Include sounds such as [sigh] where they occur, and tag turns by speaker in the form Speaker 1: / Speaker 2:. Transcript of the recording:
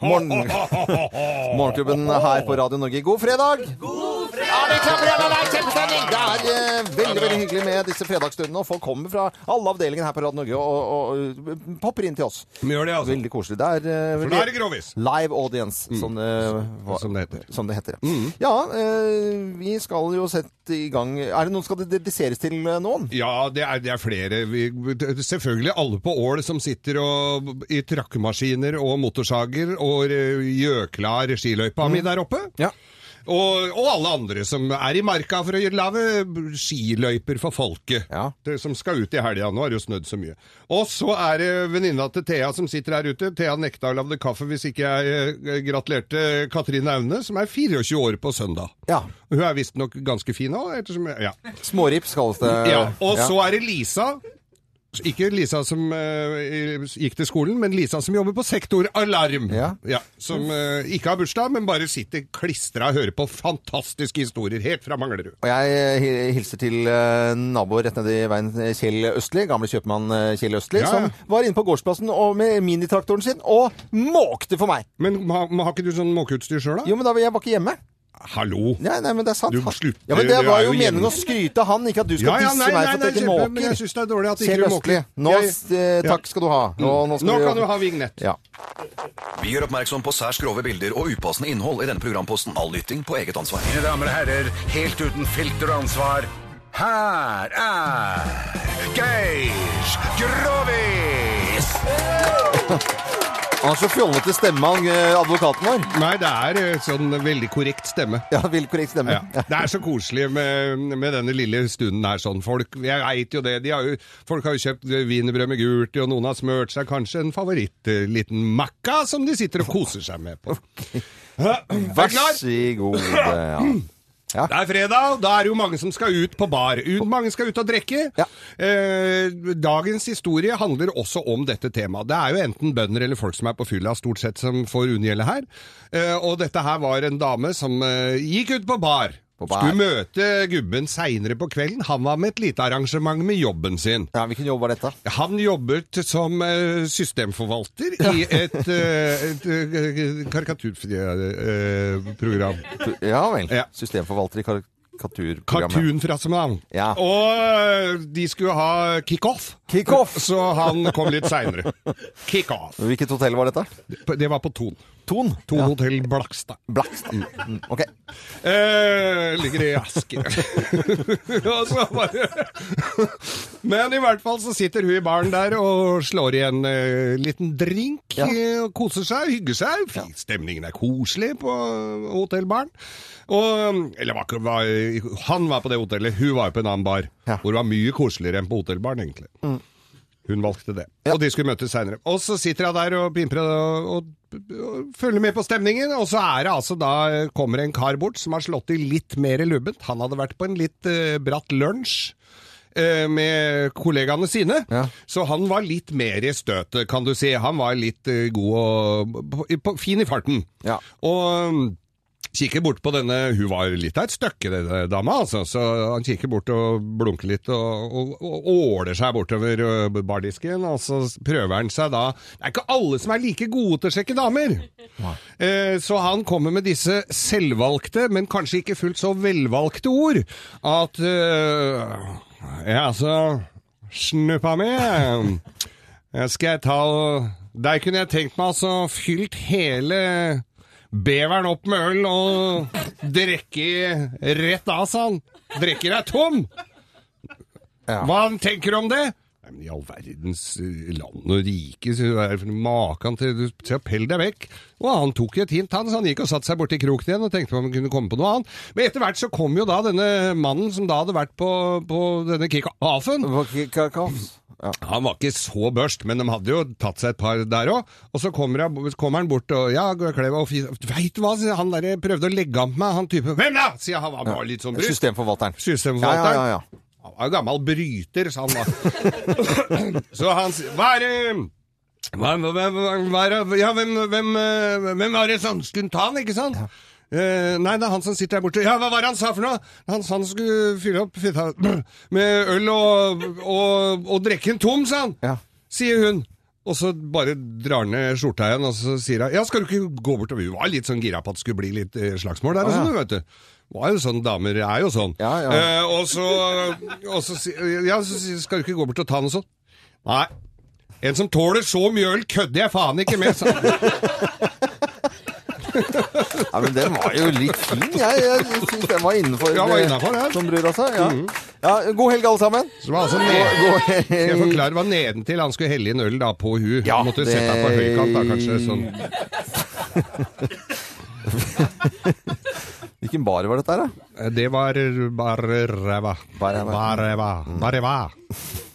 Speaker 1: Morgen...
Speaker 2: [laughs]
Speaker 1: Morgenklubben her på Radio Norge. God fredag! Ja, vi klapper igjen, det er kjempestemning! Det er eh, veldig veldig hyggelig med disse fredagsstundene. Og folk kommer fra alle avdelingene her på Radio Norge og, og, og popper inn til oss.
Speaker 2: Vi gjør det, altså.
Speaker 1: Veldig koselig. Det er, eh,
Speaker 2: For da er det grovis. Mm.
Speaker 1: Live audience, som, det, var-
Speaker 2: Som det heter. Mm.
Speaker 1: Som det heter. Ja, eh, vi skal jo sette i gang Er det noen skal det dediseres til eh, noen?
Speaker 2: Ja, det er, det er flere. Vi, selvfølgelig alle på Ål som sitter og, i trakkemaskiner og motorsager og eh, gjøklar skiløypa mi
Speaker 1: Mm.
Speaker 2: der oppe.
Speaker 1: Ja.
Speaker 2: Og, og alle andre som er i marka for å gjøre- lage skiløyper for folket.
Speaker 1: Ja.
Speaker 2: Det som skal ut i helga. Nå har det jo snødd så mye. Og så er det venninna til Thea som sitter her ute. Thea nekta å lage kaffe hvis ikke jeg eh, gratulerte Katrine Aune, som er 24 år på søndag.
Speaker 1: Ja.
Speaker 2: Hun er visstnok ganske fin òg, ettersom jeg, ja.
Speaker 1: Smårips kalles det.
Speaker 2: Ja, og
Speaker 1: Ja.
Speaker 2: så er det Lisa. Ikke Lisa som eh, gikk til skolen, men Lisa som jobber på Sektor Alarm.
Speaker 1: Ja.
Speaker 2: som eh, ikke har bursdag, men bare sitter klistra og hører på fantastiske historier helt fra Manglerud.
Speaker 1: Og jeg hi- hilser til eh, nabo rett nedi veien, eh, Kjell Østli, gamle kjøpmann eh, Kjell Østli,
Speaker 2: Ja, ja.
Speaker 1: som var inne på gårdsplassen og med minitraktoren sin og måkte for meg.
Speaker 2: Men ma- ma- har ikke du sånn måkeutstyr sjøl, da?
Speaker 1: Jo, men da var jeg var ikke hjemme.
Speaker 2: Hallo!
Speaker 1: Nei, nei, men det er sant.
Speaker 2: Du må slutte,
Speaker 1: Ja, men det
Speaker 2: du
Speaker 1: var
Speaker 2: er
Speaker 1: jo
Speaker 2: jo
Speaker 1: meningen
Speaker 2: hjemme.
Speaker 1: å skryte av han, ikke at du skal disse meg for at jeg ikke
Speaker 2: kjempe, men jeg
Speaker 1: måker.
Speaker 2: syns det er dårlig at ikke
Speaker 1: Kjell
Speaker 2: du
Speaker 1: Østli,
Speaker 2: måker.
Speaker 1: nå,
Speaker 2: Jeg-
Speaker 1: s- eh, takk skal du ha. Og nå, skal
Speaker 2: Nå
Speaker 1: vi-
Speaker 2: kan du ha vignett.
Speaker 1: Ja.
Speaker 3: Vi gjør oppmerksom på særs grove bilder og upassende innhold i denne programposten. All lytting på eget ansvar.
Speaker 4: Mine damer og herrer, helt uten filter og ansvar, her er Geir Grovis!
Speaker 1: Han har så fjollete stemme, han eh, advokaten vår.
Speaker 2: Nei, det er eh, sånn veldig korrekt stemme.
Speaker 1: Ja, vil korrekt stemme.
Speaker 2: Ja. Det er så koselig med, med denne lille stunden her. sånn. Folk jeg vet jo det, de har jo, folk har jo kjøpt wienerbrød med gult i, og noen har smurt seg kanskje en favoritt, eh, liten makka, som de sitter og koser seg med på.
Speaker 1: Vær
Speaker 2: Er du klar?
Speaker 1: så god. eh, Ja.
Speaker 2: Det er fredag, og da er det jo mange som skal ut på bar. Ut, mange skal ut og drikke.
Speaker 1: Ja.
Speaker 2: Eh, dagens historie handler også om dette temaet. Det er jo enten bønder eller folk som er på fylla, stort sett, som får unngjelde her. Eh, og dette her var en dame som eh, gikk ut på bar.
Speaker 1: På bar.
Speaker 2: Skulle møte gubben seinere på kvelden. Han var med et lite arrangement med jobben sin.
Speaker 1: ja, hvilken jobb var dette?
Speaker 2: Han jobbet som eh, systemforvalter i et, eh, et, eh, karikaturprogram.
Speaker 1: Ja vel.
Speaker 2: Ja.
Speaker 1: Systemforvalter i karikaturprogrammet.
Speaker 2: Cartoon fra som navn.
Speaker 1: Ja.
Speaker 2: Og øh, de skulle ha kickoff.
Speaker 1: Kickoff!
Speaker 2: Så han kom litt seinere. Kickoff.
Speaker 1: Hvilket hotell var dette?
Speaker 2: Det var på Ton.
Speaker 1: Ton?
Speaker 2: Ton hotell Blakstad.
Speaker 1: Blakstad. Mm, ok.
Speaker 2: Eh, ligger i Asker. [laughs] Og så bare Men i hvert fall så sitter hun i baren der og slår i en eh, liten drink.
Speaker 1: Ja.
Speaker 2: eh, og koser seg, hygger seg. Fint, Stemningen er koselig på eh, hotellbaren. Og eh, Eller var, ikke- var, han var på det hotellet, hun var jo på en annen bar.
Speaker 1: Ja.
Speaker 2: Hvor det var mye koseligere enn på hotellbaren, egentlig. Hun valgte det. Og de skulle møtes seinere. Og så sitter jeg der og pimper og, og, og følger med på stemningen, og så er det altså da kommer en kar bort som har slått i litt mer lubbent. Han hadde vært på en litt eh, bratt lunsj. eh, Med kollegaene sine.
Speaker 1: Ja.
Speaker 2: Så han var litt mer i støtet, kan du si. Han var litt eh, god og på, på, fin i farten.
Speaker 1: Ja.
Speaker 2: Og mm, kikker bort på denne Hun var litt av et stykke, denne dama, altså. Så han kikker bort og blunker litt og, og, og åler seg bortover ø, bardisken. Og så prøver han seg da Det er ikke alle som er like gode til å sjekke damer! Eh, så han kommer med disse selvvalgte, men kanskje ikke fullt så velvalgte ord. At eh, Ja, altså Snuppa mi jeg Eh, skal jeg ta og Der kunne jeg tenkt meg altså fylt hele beveren opp med øl og drikke rett av, sa han. Drikker deg tom!
Speaker 1: Ja.
Speaker 2: Hva han tenker om det? Nei, men I all verdens eh, land og rike, så er det for maken til du- til å pelle deg vekk. Og han tok et hint, han, så han gikk og satte seg borti kroken igjen og tenkte på om han kunne komme på noe annet. Men etter hvert så kom jo da denne mannen som da hadde vært på, på denne kickoffen.
Speaker 1: Hva- k- k- kaos? Ja.
Speaker 2: Han var ikke så børst, men de hadde jo tatt seg et par der òg. Og så kommer, jeg, kommer han bort og Ja, Kleva og fis... Veit du hva, sier han der prøvde å legge an på meg, han typen. Hvem da?! sier han. Han var litt sånn bryst.
Speaker 1: Systemforvalteren.
Speaker 2: Systemforvalteren.
Speaker 1: Ja, ja, ja, ja.
Speaker 2: Han var jo gammel bryter, sa han da. [coughs] så han sier Hva er det hva, hva, hva, hva er det Ja, hvem, hvem, eh, hvem var det som skulle ta han, ikke sant? Eh, nei, det er han som sitter der borte. Ja, hva var det han sa for noe? Han sa han skulle fylle opp fytta med øl og, og, og drikke en tom, sa han
Speaker 1: Ja.
Speaker 2: sier hun. Og så bare drar han ned skjorta igjen, og så sier hun ja, skal du ikke gå bort og Hun var litt sånn gira på at det skulle bli litt eh, slagsmål der og
Speaker 1: Å,
Speaker 2: sånn,
Speaker 1: ja.
Speaker 2: vet du. Var jo sånn, damer er jo sånn.
Speaker 1: Ja, ja.
Speaker 2: Eh, og så, og så, sier- ja, så sier- skal du ikke gå bort og ta den og sånn. Nei. En som tåler så mye øl, kødder jeg faen ikke med! sa han.
Speaker 1: Ja, men den var jo litt fin. Jeg, jeg syns den var innenfor. eh,
Speaker 2: Ja, var innenfor, ja. Mm.
Speaker 1: Som bror også. Ja. ja, god helg, alle sammen.
Speaker 2: Så det var altså
Speaker 1: God,
Speaker 2: ned...
Speaker 1: god
Speaker 2: Jeg
Speaker 1: helg.
Speaker 2: forklarer hva nedentil han skulle helle inn øl da på hun.
Speaker 1: Ja,
Speaker 2: han måtte
Speaker 1: det-
Speaker 2: sette henne på høykant da, kanskje. sånn.
Speaker 1: [laughs] Hvilken bar var dette her, da?
Speaker 2: Eh, Det var bare ræva.
Speaker 1: Bare ræva.
Speaker 2: Bare ræva. Bare ræva.